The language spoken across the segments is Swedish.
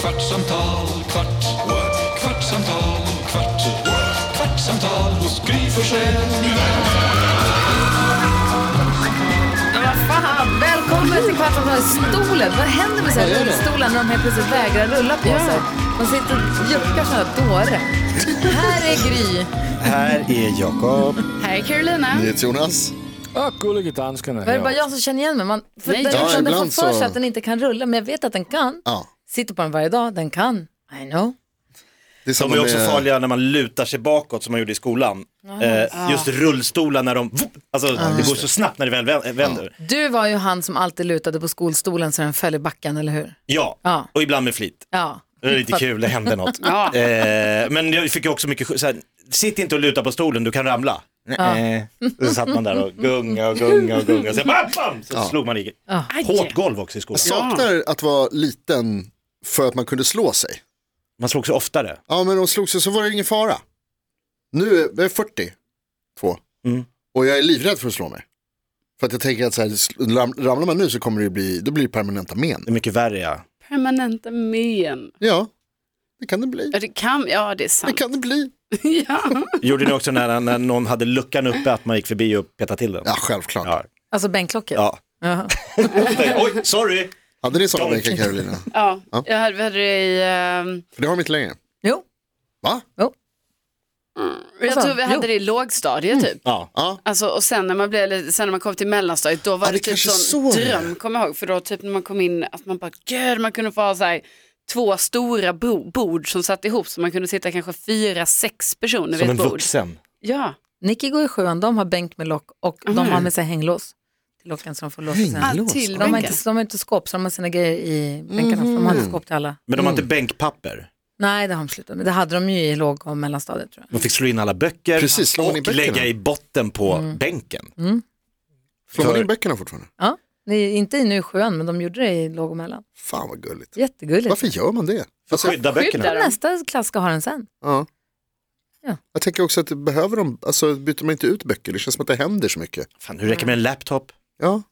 kvartsamtal, kvart, what? kvartsamtal, kvart, what? kvartsamtal hos Gry Forssell med vänner. Fan, välkommen till Kvartsamtalsstolen. Vad händer med sådana rullstolar när de helt plötsligt vägrar rulla på sig? Man sitter och juckar som en dåre. Här är Gry. Här är Jakob. Här är Carolina. Jonas. Ja, gullige danskarna. Var det bara jag som känner igen mig? Man, för Nej. den Ja, som den ibland får för så- sig att den inte kan rulla, men jag vet att den kan. Ja, Sitter på den varje dag, den kan. I know. det är De samma är också med, farliga när man lutar sig bakåt som man gjorde i skolan. Eh, just rullstolar när de, alltså det går så snabbt när det väl vä- vänder. Ja, Du var ju han som alltid lutade på skolstolen så den föll i backen, eller hur? Ja. och ibland med flit. Ja. Det är lite kul, det hände något. Eh, men jag fick ju också mycket, sk- så här, sitt inte och luta på stolen, du kan ramla. Nej. Så satt man där och gunga och gunga och gunga, så, bam, bam, så slog man i. Hårt golv också i skolan. saknar att vara liten för att man kunde slå sig. Man slog sig oftare. Ja, men de slog sig så var det ingen fara. Nu är jag 42 Mm. och jag är livrädd för att slå mig. För att jag tänker att så här, sl- ram- ramlar man nu så kommer det bli, det blir permanenta men. Det är mycket värre ja. Permanenta men. Ja, det kan det bli. Ja, det kan, ja, det är Det sant. kan det bli. Ja. Gjorde ni också när, när någon hade luckan uppe, att man gick förbi och petade till den? Ja, självklart. Ja. Alltså bänklocket. ja. Jaha. Oj, sorry. Hade ni sådana De- bänkar Carolina? ja. Ja. Jag hade, vi hade det i, ehm, För det har de inte längre. Jo, Va? jag Alltså, tror vi jo. hade det i lågstadiet typ. Ja. Ja, Alltså, och sen när, man blev, eller sen när man kom till mellanstadiet, då var Ja, det, det typ kanske sån så det är. dröm, kommer jag ihåg. För då typ när man kom in, att man bara, gud, man kunde få ha så här, två stora bo- bord som satt ihop så man kunde sitta kanske fyra, sex personer vid Som ett en bord. vuxen. Ja, Nicky går i sjuan, de har bänk med lock och de har med sig hänglås till locken så de får låsa sina Ah, till De har, bänken. Mhm. inte, de har inte skåp så de har sina grejer i bänkarna. För de har inte skåp till alla. Men de har inte Mm. bänkpapper. Nej, det har de slutat med. Det hade de ju i låg och mellanstadiet tror jag. De fick slå in alla böcker Precis, slå in i och böckerna. lägga i botten på bänken. slår man För- in böckerna fortfarande? Ja, det är inte i nu i sjuan, men de gjorde det i låg och mellan. Fan vad gulligt. Jättegulligt. Varför gör man det? Alltså, Skydda böckerna. skyddar de? Nästa klass ska ha den sen. Ja. Ja. Jag tänker också att behöver de, alltså byter man inte ut böcker, det känns som att det händer så mycket. Fan, hur räcker det med en laptop? Ja,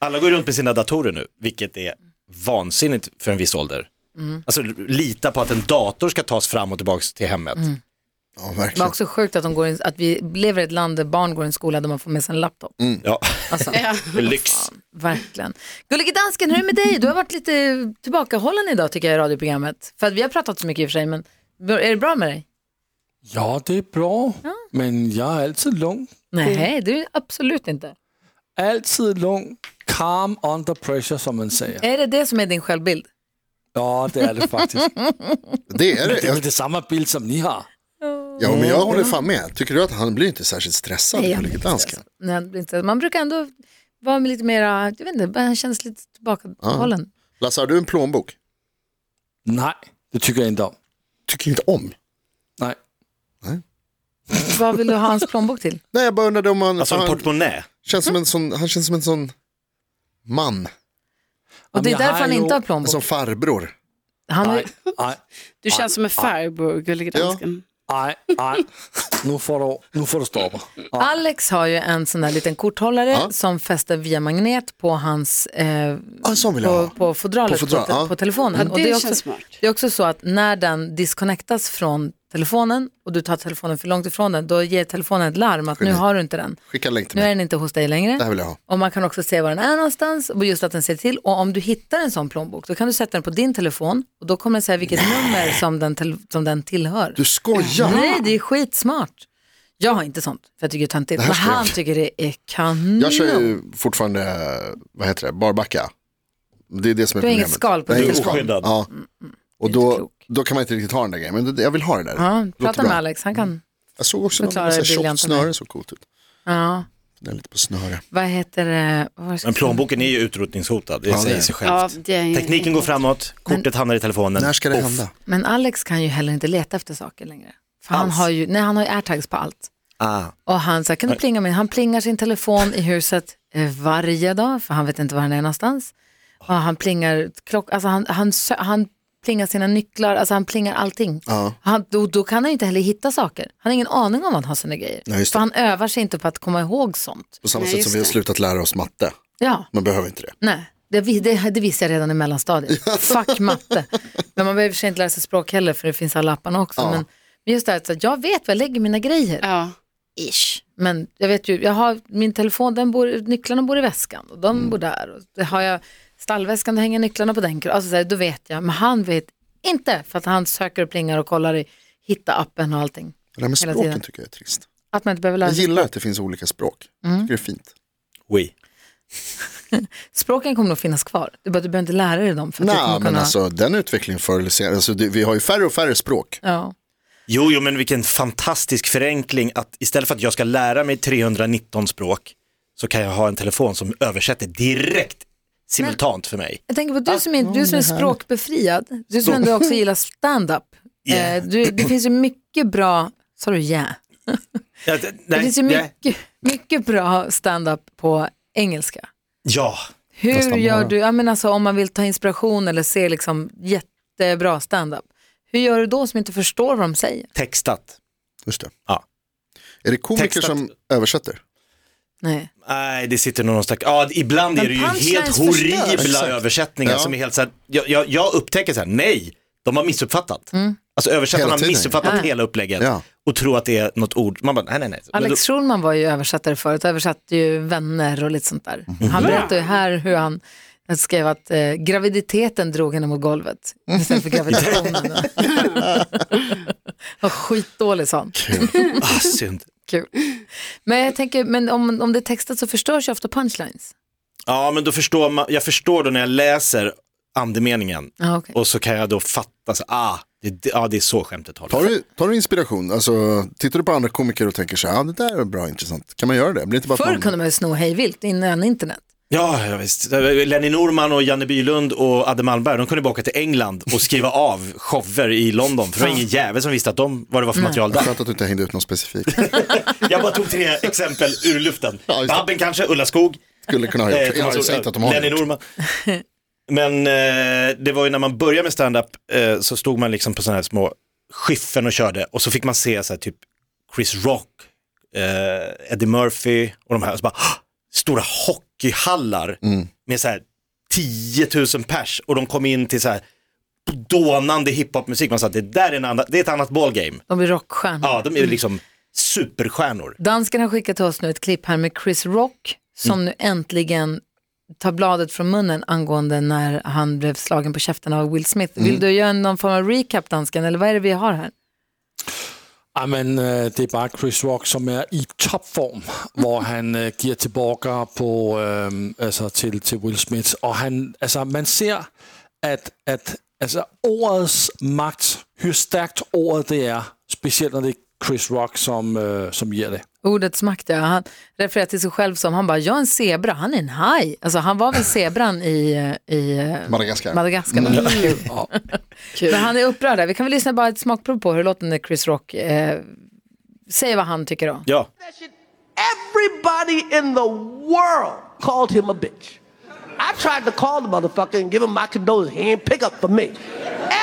Alla går runt med sina datorer nu, vilket är vansinnigt för en viss ålder. Alltså lita på att en dator ska tas fram och tillbaka till hemmet. ja Det var verkligen. också sjukt att, de går in, att vi lever i ett land där barn går i en skola där man får med sig en laptop. Mm. Ja, Alltså, det är lyx. verkligen. Gullige dansken, hur är det med dig? Du har varit lite tillbakahållen idag tycker jag i radioprogrammet. För att vi har pratat så mycket i och för sig, men är det bra med dig? Ja, det är bra. Men jag är alltid lugn. Nej, det är absolut inte. Alltid lugn. Calm under pressure som man säger. Är det det som är din självbild? Ja, det är det faktiskt. Det är det. Det är Jag, väl samma bild som ni har. ja, men jag håller fan med. Tycker du att han blir inte särskilt stressad Nej, på jag Ligget blir Dansken? Nej, det blir inte. Man brukar ändå vara med lite mera, jag vet inte, bara han känns lite tillbakahållen. Lasse, har du en plånbok? Nej, det tycker jag inte om. Tycker inte om. Nej. Vad vill du ha hans plånbok till? Nej, jag bara undrade om han, Alltså en han, portmonnä. känns som en sån, han känns som en sån man, Och det är jag har därför han ju- inte har en plånbok. sån farbror. Han har, Nej, nej, du känns som en farbror, gullige dansken. nej, nej. Nu får du, nu får du stoppa. Ja. Alex har ju en sån där liten korthållare som fäster via magnet på hans eh, Ja, en sån vill jag på, ha. på fodralet på, På fodral, te- ja. på telefonen. Ja, det och det, är känns också, smart. det är också så att när den disconnectas från telefonen och du tar telefonen för långt ifrån den, då ger telefonen ett larm att nu har du inte den. Skicka en länk till Nu är mig. den inte hos dig längre. Det här vill jag ha. Och man kan också se var den är någonstans och just att den ser till. Och om du hittar en sån plånbok, då kan du sätta den på din telefon och då kommer den säga vilket nummer som den, tel- som den tillhör. Du skojar? Nej, det är skitsmart. Jag har inte sånt, för jag tycker det är töntigt. här Men ska jag- han tycker det är kanon. Jag kör ju Mm. fortfarande, eh, vad heter det, barbacka. Det är det som är Du har inget problemet. skal på Nej, dig. Mm, inget skal. Oskyddad. Ja. Och inte då, klok. då kan man inte riktigt ha den där grejen, men det, jag vill ha det där. Ja, Låter prata bra. Mm. med Alex, han kan. Jag såg också någon Förklara med så här briljant tjockt för mig. snöre, såg coolt ut. Ja. Den är lite på snöre. Vad heter det? Vad var det jag Men skulle säga? plånboken är ju utrotningshotad, det Ja, det är säger det. sig självt. Ja, det är Tekniken går framåt, kortet hamnar i telefonen. När ska det Off. hända? Men Alex kan ju heller inte leta efter saker längre. För han Alls. har ju, nej han har ju airtags på allt. Ah. Och han så här, kan du plinga mig? Han plingar sin telefon i huset eh, varje dag, för han vet inte var han är någonstans. Och han plingar klock, alltså han, han, sö- han plingar sina nycklar, alltså han plingar allting. Ja. Han, då, då kan han ju inte heller hitta saker. Han har ingen aning om att han har sina grejer. Nej, just för det. han övar sig inte på att komma ihåg sånt. På samma Nej, sätt just som vi har det. slutat lära oss matte. Ja, Man behöver inte det. nej. Det, vi- det, det visste jag redan i mellanstadiet. Fuck matte. Men man behöver i och för sig inte lära sig språk heller för det finns alla apparna också. Men, men just det här, så att jag vet var jag lägger mina grejer. Ja. Ish. Men jag vet ju, jag har min telefon, den bor, nycklarna bor i väskan och Mm. de bor där. Och det har jag stallväskan, då hänger nycklarna på den. Alltså så här, då vet jag, men han vet inte för att han söker och plingar och kollar i, hitta appen och allting. Det där med Hela språken tiden. tycker jag är trist. Att man inte behöver lära Jag sig. gillar att det finns olika språk. Mm. Jag tycker det är fint. Oui. Språken kommer nog finnas kvar. Du, bara, du behöver inte lära dig dem. För att du kommer Nej, men kunna... alltså den utvecklingen förr eller senare. Alltså, det, vi har ju färre och färre språk. Ja. Jo, jo, men vilken fantastisk förenkling att istället för att jag ska lära mig 319 språk så kan jag ha en telefon som översätter direkt simultant för mig. Jag tänker på Ah, du som är, du som är språkbefriad, du som ändå också gillar stand-up. Yeah. Eh, du, det finns ju mycket bra, sa du yeah? Ja, det, Det nej, finns ju nej. mycket, mycket bra stand-up på engelska. Ja, Hur gör du, jag menar alltså, om man vill ta inspiration eller se liksom jättebra stand-up, hur gör du då som inte förstår vad de säger? textat. Just det. Ja. Är det komiker Textat. som översätter? Nej. Nej, det sitter nog någon stack... Ja, ibland Men är det ju helt punchlines horribla förstörs. Exakt. översättningar Ja. som är helt så här, jag, jag, jag upptäcker så här, nej, de har missuppfattat. Alltså översättarna Hela har tiden. missuppfattat Ja. hela upplägget Ja. och tror att det är något ord. Man bara, nej, nej, nej. Men Alex Schulman var ju översättare förut, översatte ju vänner och lite sånt där. Han berättade ju här hur han skrev att eh, graviditeten drog henne mot golvet istället för gravitationen. Vad skitdålig sa han. då, ah, synd. Kul. Men jag tänker, men om, om det är textat så förstörs ju ofta punchlines. Ja, men då förstår man, jag förstår då när jag läser andemeningen Ja, okej. och så kan jag då fatta, så, ah, det, det, ja, det är så skämtet håller. Tar du, tar du inspiration? Alltså, tittar du på andra komiker och tänker så här, ah, det där är bra intressant. Kan man göra det? Blir det inte bara att Förr man... kunde man ju sno hejvilt innan internet. Ja, ja, visst. Lenny Norman och Janne Bylund och Adde Malmberg, de kunde bara åka till England och skriva av shower i London, för det var ingen jävel som visste att de, vad det var för material där. Skönt att du inte hängde ut någon specifik. Jag bara tog tre exempel ur luften. Ja, just det. Babben kanske, Ulla Skog, Skulle kunna ha gjort. eh, Jag har ju Thomas- sagt att de har Lenny gjort. Norman. Men eh, det var ju när man började med stand-up eh, så stod man liksom på sådana här små skiffen och körde och så fick man se så här, typ Chris Rock, eh, Eddie Murphy och de här. Och så bara, "Hå!" stora hockeyhallar Mm. med så här 10 000 pers och de kom in till så här dånande hiphopmusik. Man sa att det där är, en annan, det är ett annat ballgame. De blir rockstjärnor. Ja, de är ju liksom superstjärnor. Dansken har skickat till oss nu ett klipp här med Chris Rock som nu äntligen tar bladet från munnen angående när han blev slagen på käften av Will Smith. Vill du göra någon form av recap dansken eller vad är det vi har här? Ja, men, øh, det er bare Chris Rock, som er i topform, hvor han øh, giver tilbage på, øh, altså, til, til Will Smith. Og han, altså, man ser, at, at altså, ordets magt, hvor stærkt ordet det er, specielt når det er Chris Rock, som, øh, som giver det. Ordets makt, ja. Han refererar till sig själv som, han bara, jag är en zebra, han är en haj. Alltså han var väl zebran i, i eh, Madagaskar. Madagaskar. Ja. Men han är upprörd där. Vi kan väl lyssna bara ett smakprov på hur det låter när Chris Rock eh, säger vad han tycker då. Ja. Everybody in the world called him a bitch. I tried to call the motherfucker and give him my condolences. He ain't pick up for me.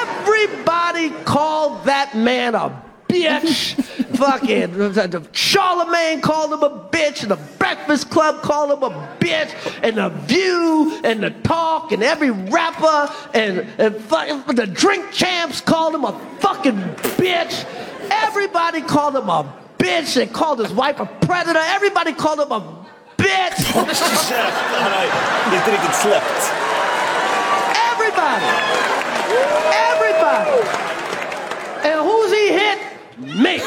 Everybody called that man a bitch. Fucking Charlemagne called him a bitch, and the Breakfast Club called him a bitch, and the View and the Talk and every rapper and, and fucking the Drink Champs called him a fucking bitch. Everybody called him a bitch. They called his wife a predator. Everybody called him a bitch. Han har ju inte riktigt släppt. Everybody. Everybody. And who's he hit? Me.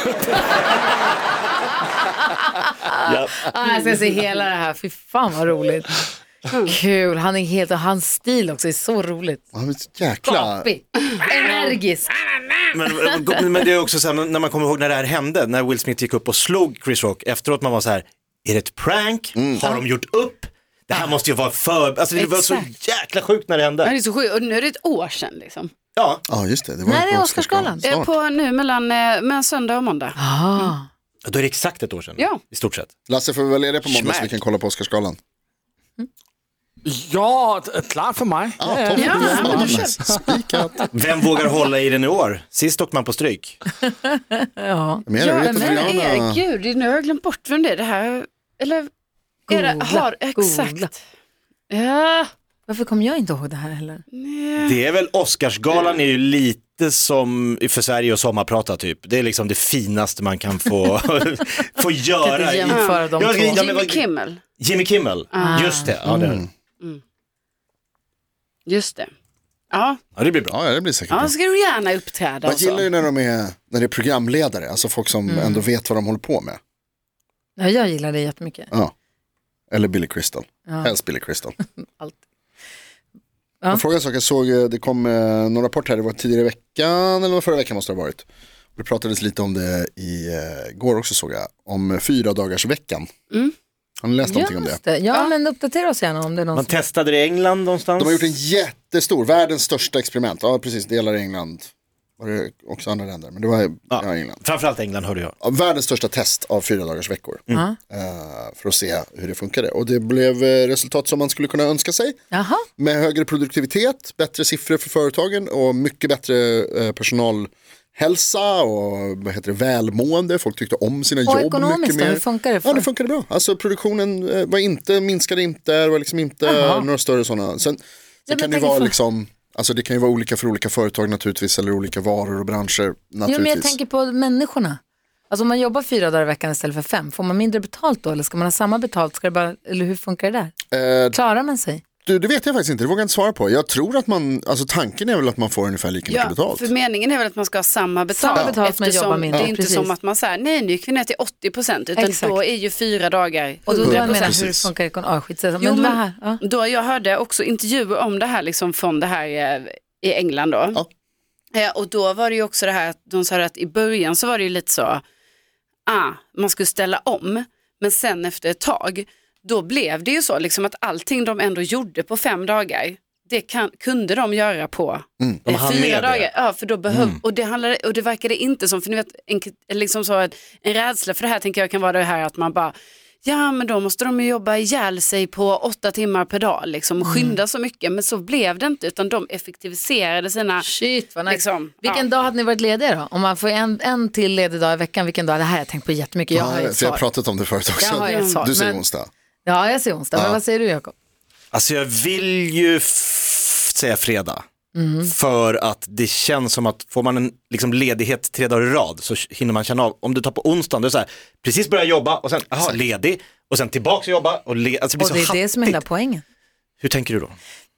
Ja. Ah, jag ska se hela det här, fy fan vad roligt. Kul, han är helt, och hans stil också är så roligt. Han är så jäkla... Gapig, energisk. Men, men det är också så här, när man kommer ihåg när det här hände, när Will Smith gick upp och slog Chris Rock, efteråt man var så här, Är det ett prank? Mm. Har de gjort upp? Det här måste ju vara för... Alltså det var så Exakt. jäkla sjukt när det Ja, hände. det är så sjukt. Och nu är det ett år sedan liksom. Ja, Ja, just det. det var När ju är på Oscarsgalan? Eh, Snart. På nu mellan eh, men söndag och måndag. Ah. då är det exakt ett år sedan. Ja. I stort sett. Lasse, får vi vara lediga på måndag så vi Smack. kan kolla på Oscarsgalan? Ja, d- klart för mig. Ja, toppen. Ja, men du kör. Spikat. Vem vågar hålla i den i år? Sist åkte man på stryk. Men jag Ja, vet men att Rihanna... herregud, det- nu har jag glömt bort vem det är. Det här, eller, är det, Googla, har, exakt. googla. Ja, Varför kom jag inte ihåg det här heller? Det är väl Oscarsgalan är ju lite som för Sverige och sommarprata typ. Det är liksom det finaste man kan få, få göra. Kan inte i- jämföra de Ja, två. ja, men Jimmy Ah. Mm. vad- Kimmel. Jimmy Kimmel, just det. Ja, det, Just det. Ja, ja, det blir bra. Ja, ja, det blir säkert ja bra. ska du gärna uppträda. Man och så. gillar ju när de är, när det är programledare, alltså folk som ändå vet vad de håller på med. Ja, jag gillar det jättemycket. Ja. Eller Billy Crystal. Helst Billy Crystal. Allt. Ja. En fråga en sak, jag såg, eh, det kom eh, någon rapport här, det var tidigare i veckan, eller var förra veckan måste det ha varit. Det pratades lite om det i eh, går också såg jag, om eh, fyra dagars veckan. Har ni läst någonting om det? Just det. Ja, men uppdatera oss gärna om det är någon Man som... testade det i England någonstans. De har gjort en jättestor, världens största experiment. Ja, precis, delar i England. Var det också andra länder, men det var ja. England. Framförallt England hörde jag. Ja, världens största test av fyra dagars veckor. Eh, för att se hur det funkade. Och det blev eh, resultat som man skulle kunna önska sig. Jaha, Med högre produktivitet, bättre siffror för företagen och mycket bättre eh, personalhälsa och vad heter det, välmående. Folk tyckte om sina Och jobb ekonomiskt mycket då? mer. Hur funkar det för? Ja, det funkade bra. Alltså produktionen eh, var inte, minskade inte, det var liksom inte några större sådana. Sen, sen men kan det tänk vara ifall- liksom, alltså det kan ju vara olika för olika företag naturligtvis eller olika varor och branscher naturligtvis. jo, men jag tänker på människorna. Alltså om man jobbar fyra dagar i veckan istället för fem, får man mindre betalt då eller ska man ha samma betalt? Ska det bara... Eller hur funkar det där? Eh, Klarar man sig? Du, det vet jag faktiskt inte, det vågar jag inte svara på. Jag tror att man, alltså tanken är väl att man får ungefär lika mycket Ja, betalt. för meningen är väl att man ska ha samma betalt. Samma betalt, men eftersom jobba mindre. Det är inte Precis. som att man säger, nej nu gick vi ner till 80 procent, utan Exakt. då är ju fyra dagar Och då då menar 100 jag, hur Precis. funkar ekonomiskt? Ah, skitsamma. Jo, men, men- det här, ja. Då jag hörde också intervjuer om det här liksom från det här eh, i England då. Ja. Eh, Och då var det ju också det här att de sa att i början så var det ju lite så, ah, man skulle ställa om, men sen efter ett tag, då blev det ju så liksom att allting de ändå gjorde på fem dagar, det kan, kunde de göra på De eh, hann fyra med det. dagar. Ja, för då behöv, och, det handlade, och det verkade inte som, för ni vet, en, liksom så, att en rädsla för det här tänker jag kan vara det här att man bara, ja men då måste de ju jobba ihjäl sig på åtta timmar per dag, liksom, och skynda så mycket, men så blev det inte, utan de effektiviserade sina... Shit vad nice. Liksom, vilken ja. dag hade ni varit lediga då? Om man får en, en till ledig dag i veckan, vilken dag? Det här har jag tänkt på jättemycket. Jag har ju Ja, ett för jag har svar. pratat om det förut också. Jag har ett svar, du säger men- onsdag. Ja, jag säger onsdag. Men vad säger du Jakob? Alltså jag vill ju f- säga fredag. Mm. För att det känns som att får man en liksom ledighet tre dagar i rad så hinner man känna av, om du tar på onsdagen, då är det så här, precis börja jobba och sen, aha, ledig, och sen tillbaka och jobba och le- alltså det blir Och det så är det som är hela hattigt. poängen. Hur tänker du då?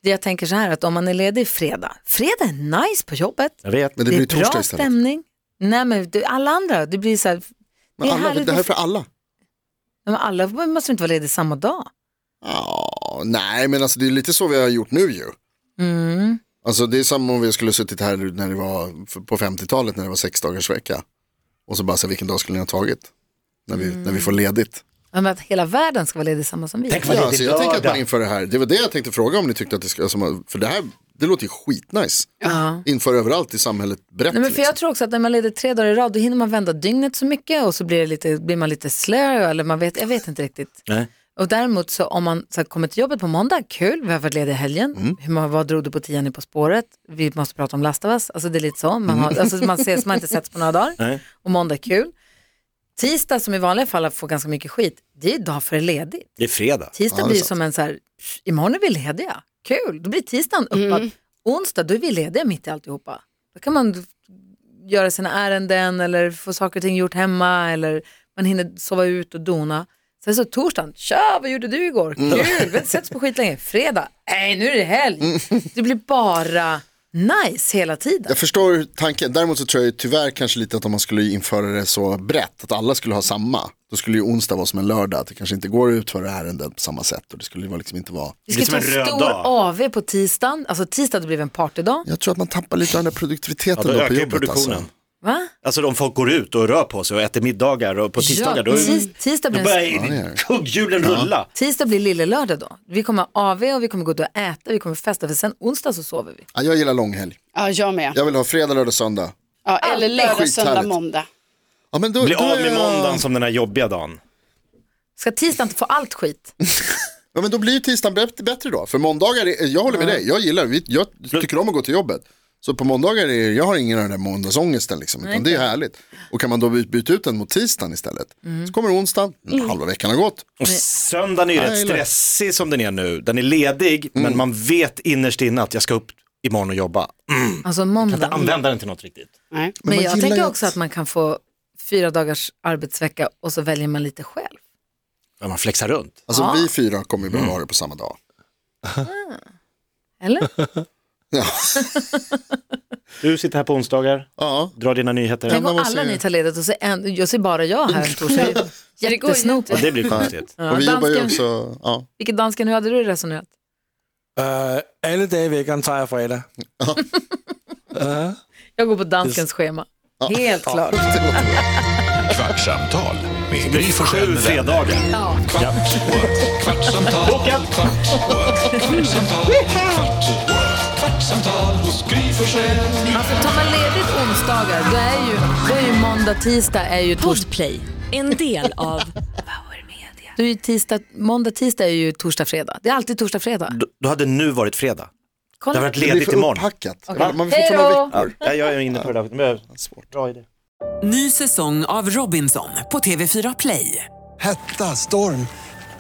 Det Jag tänker så här att om man är ledig fredag, fredag är nice på jobbet. Jag vet. Men det, blir är torsdag bra istället. stämning. Nej men du, alla andra, det blir så här, Men det är alla, härligt det här är med- för alla. men alla måste inte vara lediga samma dag. Ja, nej, men alltså det är lite så vi har gjort nu ju. Mm. Alltså det är som om vi skulle suttit här när det var f- på 50-talet när det var sex dagars vecka. Och så bara, så här, vilken dag skulle ni ha tagit? När vi, när vi får Mm. ledigt. Men att hela världen ska vara ledig samma som vi. Tänk vad Ja, ledig alltså jag tänker att man lördag. inför det här, det var det jag tänkte fråga om ni tyckte att det ska, som- för det här, det låter ju skitnice. Ja. Inför överallt i samhället Nej, brett. men för liksom. jag tror också att när man leder tre dagar i rad då hinner man vända dygnet så mycket och så blir, det lite, blir man lite slö eller man vet, jag vet inte riktigt. Nej. Och däremot så om man så här, kommer till jobbet på måndag, kul, vi har varit lediga i helgen, Mm. hur många, vad drog du på tian i På spåret, vi måste prata om Last of Us, alltså det är lite så, man, har, alltså, man ses, man har inte setts på några dagar Mm. Nej. och måndag är kul. Tisdag som i vanliga fall får ganska mycket skit, det är dag för det är ledigt. Det är fredag. Tisdag Ja, det är blir ju sant. som en så här, "Pff, imorgon är vi lediga, kul, då blir tisdagen uppåt. Onsdag, då är vi lediga mitt i alltihopa. Då kan man göra sina ärenden eller få saker och ting gjort hemma eller man hinner sova ut och dona. Sen så torsdagen, tja vad gjorde du igår? Mm. Kul, vi har inte setts på skit länge. Fredag, nej nu är det Mm. helg. Det blir bara nice hela tiden. Jag förstår tanken, däremot så tror jag ju tyvärr kanske lite att om man skulle införa det så brett, att alla skulle ha samma, då skulle ju onsdag vara som en lördag, att det kanske inte går att utföra ärenden på samma sätt och det skulle ju vara liksom inte vara... Vi Det ska är ta som en en röd stor dag. AV på tisdagen, alltså tisdag det blev en partydag. Jag tror att man tappar lite av den här Ja, produktiviteten då då på ökar ju jobbet. produktionen. Alltså. Va? Alltså om folk går ut och rör på sig och äter middagar och på tisdagar ja, då, precis. Tisdag då blir, en, börjar kugghjulen rulla. tisdag blir lillelördag då. Vi kommer ha AV och vi kommer gå ut och äta, vi kommer festa, för sen onsdag så sover vi. Ja, jag gillar långhelg. Ja, jag med. Jag vill ha fredag, lördag, söndag. Ja, eller lördag, Skithärligt. söndag, måndag. Ja, men då, Bli då av är med jag- måndagen som den här jobbiga dagen. Ska tisdag inte få allt skit? Ja, men då blir ju tisdagen bet- bättre då. För måndagar, är, jag håller med dig, jag gillar vi- jag tycker om att gå till jobbet. Så på måndagar, är, jag har ingen av den där måndagsångesten liksom, utan det är härligt. Och kan man då by- byta ut den mot tisdagen istället, Mm. så kommer onsdagen, halva veckan har gått. Och söndagen är ju rätt gillar det. stressig som den är nu. Den är ledig, men Mm. man vet innerst inne att jag ska upp imorgon och jobba. Alltså Kan inte måndag. Men, använda den till något riktigt. Nej. man jag gillar tänker ju också att man kan få fyra dagars arbetsvecka och så väljer man lite själv. Men man flexar runt. Alltså vi fyra kommer ju Mm. behöva ha det på samma dag. Eller? Ja, Du sitter här på onsdagar, ja. drar dina nyheter. Tänk om måste alla ju- ni tar ledigt och så, en, jag ser bara jag här en torsdag. går ju inte. Jättesnopet. Det blir konstigt. Ja, och vi jobbar ju dansken, också, ja. vilket dansken, hur hade du resonerat? Uh, alle dage i veckan tager jeg fredag. Jag går på danskens schema. Helt klart. Kvartsamtal med Gry Forssell Sju med vänner. fredagar. Kvart, what? kvartsamtal, kvart, what? kvartsamtal, kvart, what? kvartsamtal hos Gry Forssell. Alltså tar man ledigt onsdagar, då är ju, då är ju måndag, tisdag är ju tors... Podplay, en del av Då är ju tisdag, måndag, tisdag är ju torsdag, fredag. Det är alltid torsdag, fredag. Då- Då hade nu varit fredag. Det Kolla. har varit Det blir ledigt för imorgon. upphackat. Okej. Man får ta några Hej veckor. Ja, jag är inne på det där. Men jag- Bra idé. Ny säsong av Robinson på TV4 Play. Hetta, storm,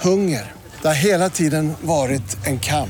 hunger. Det har hela tiden varit en kamp.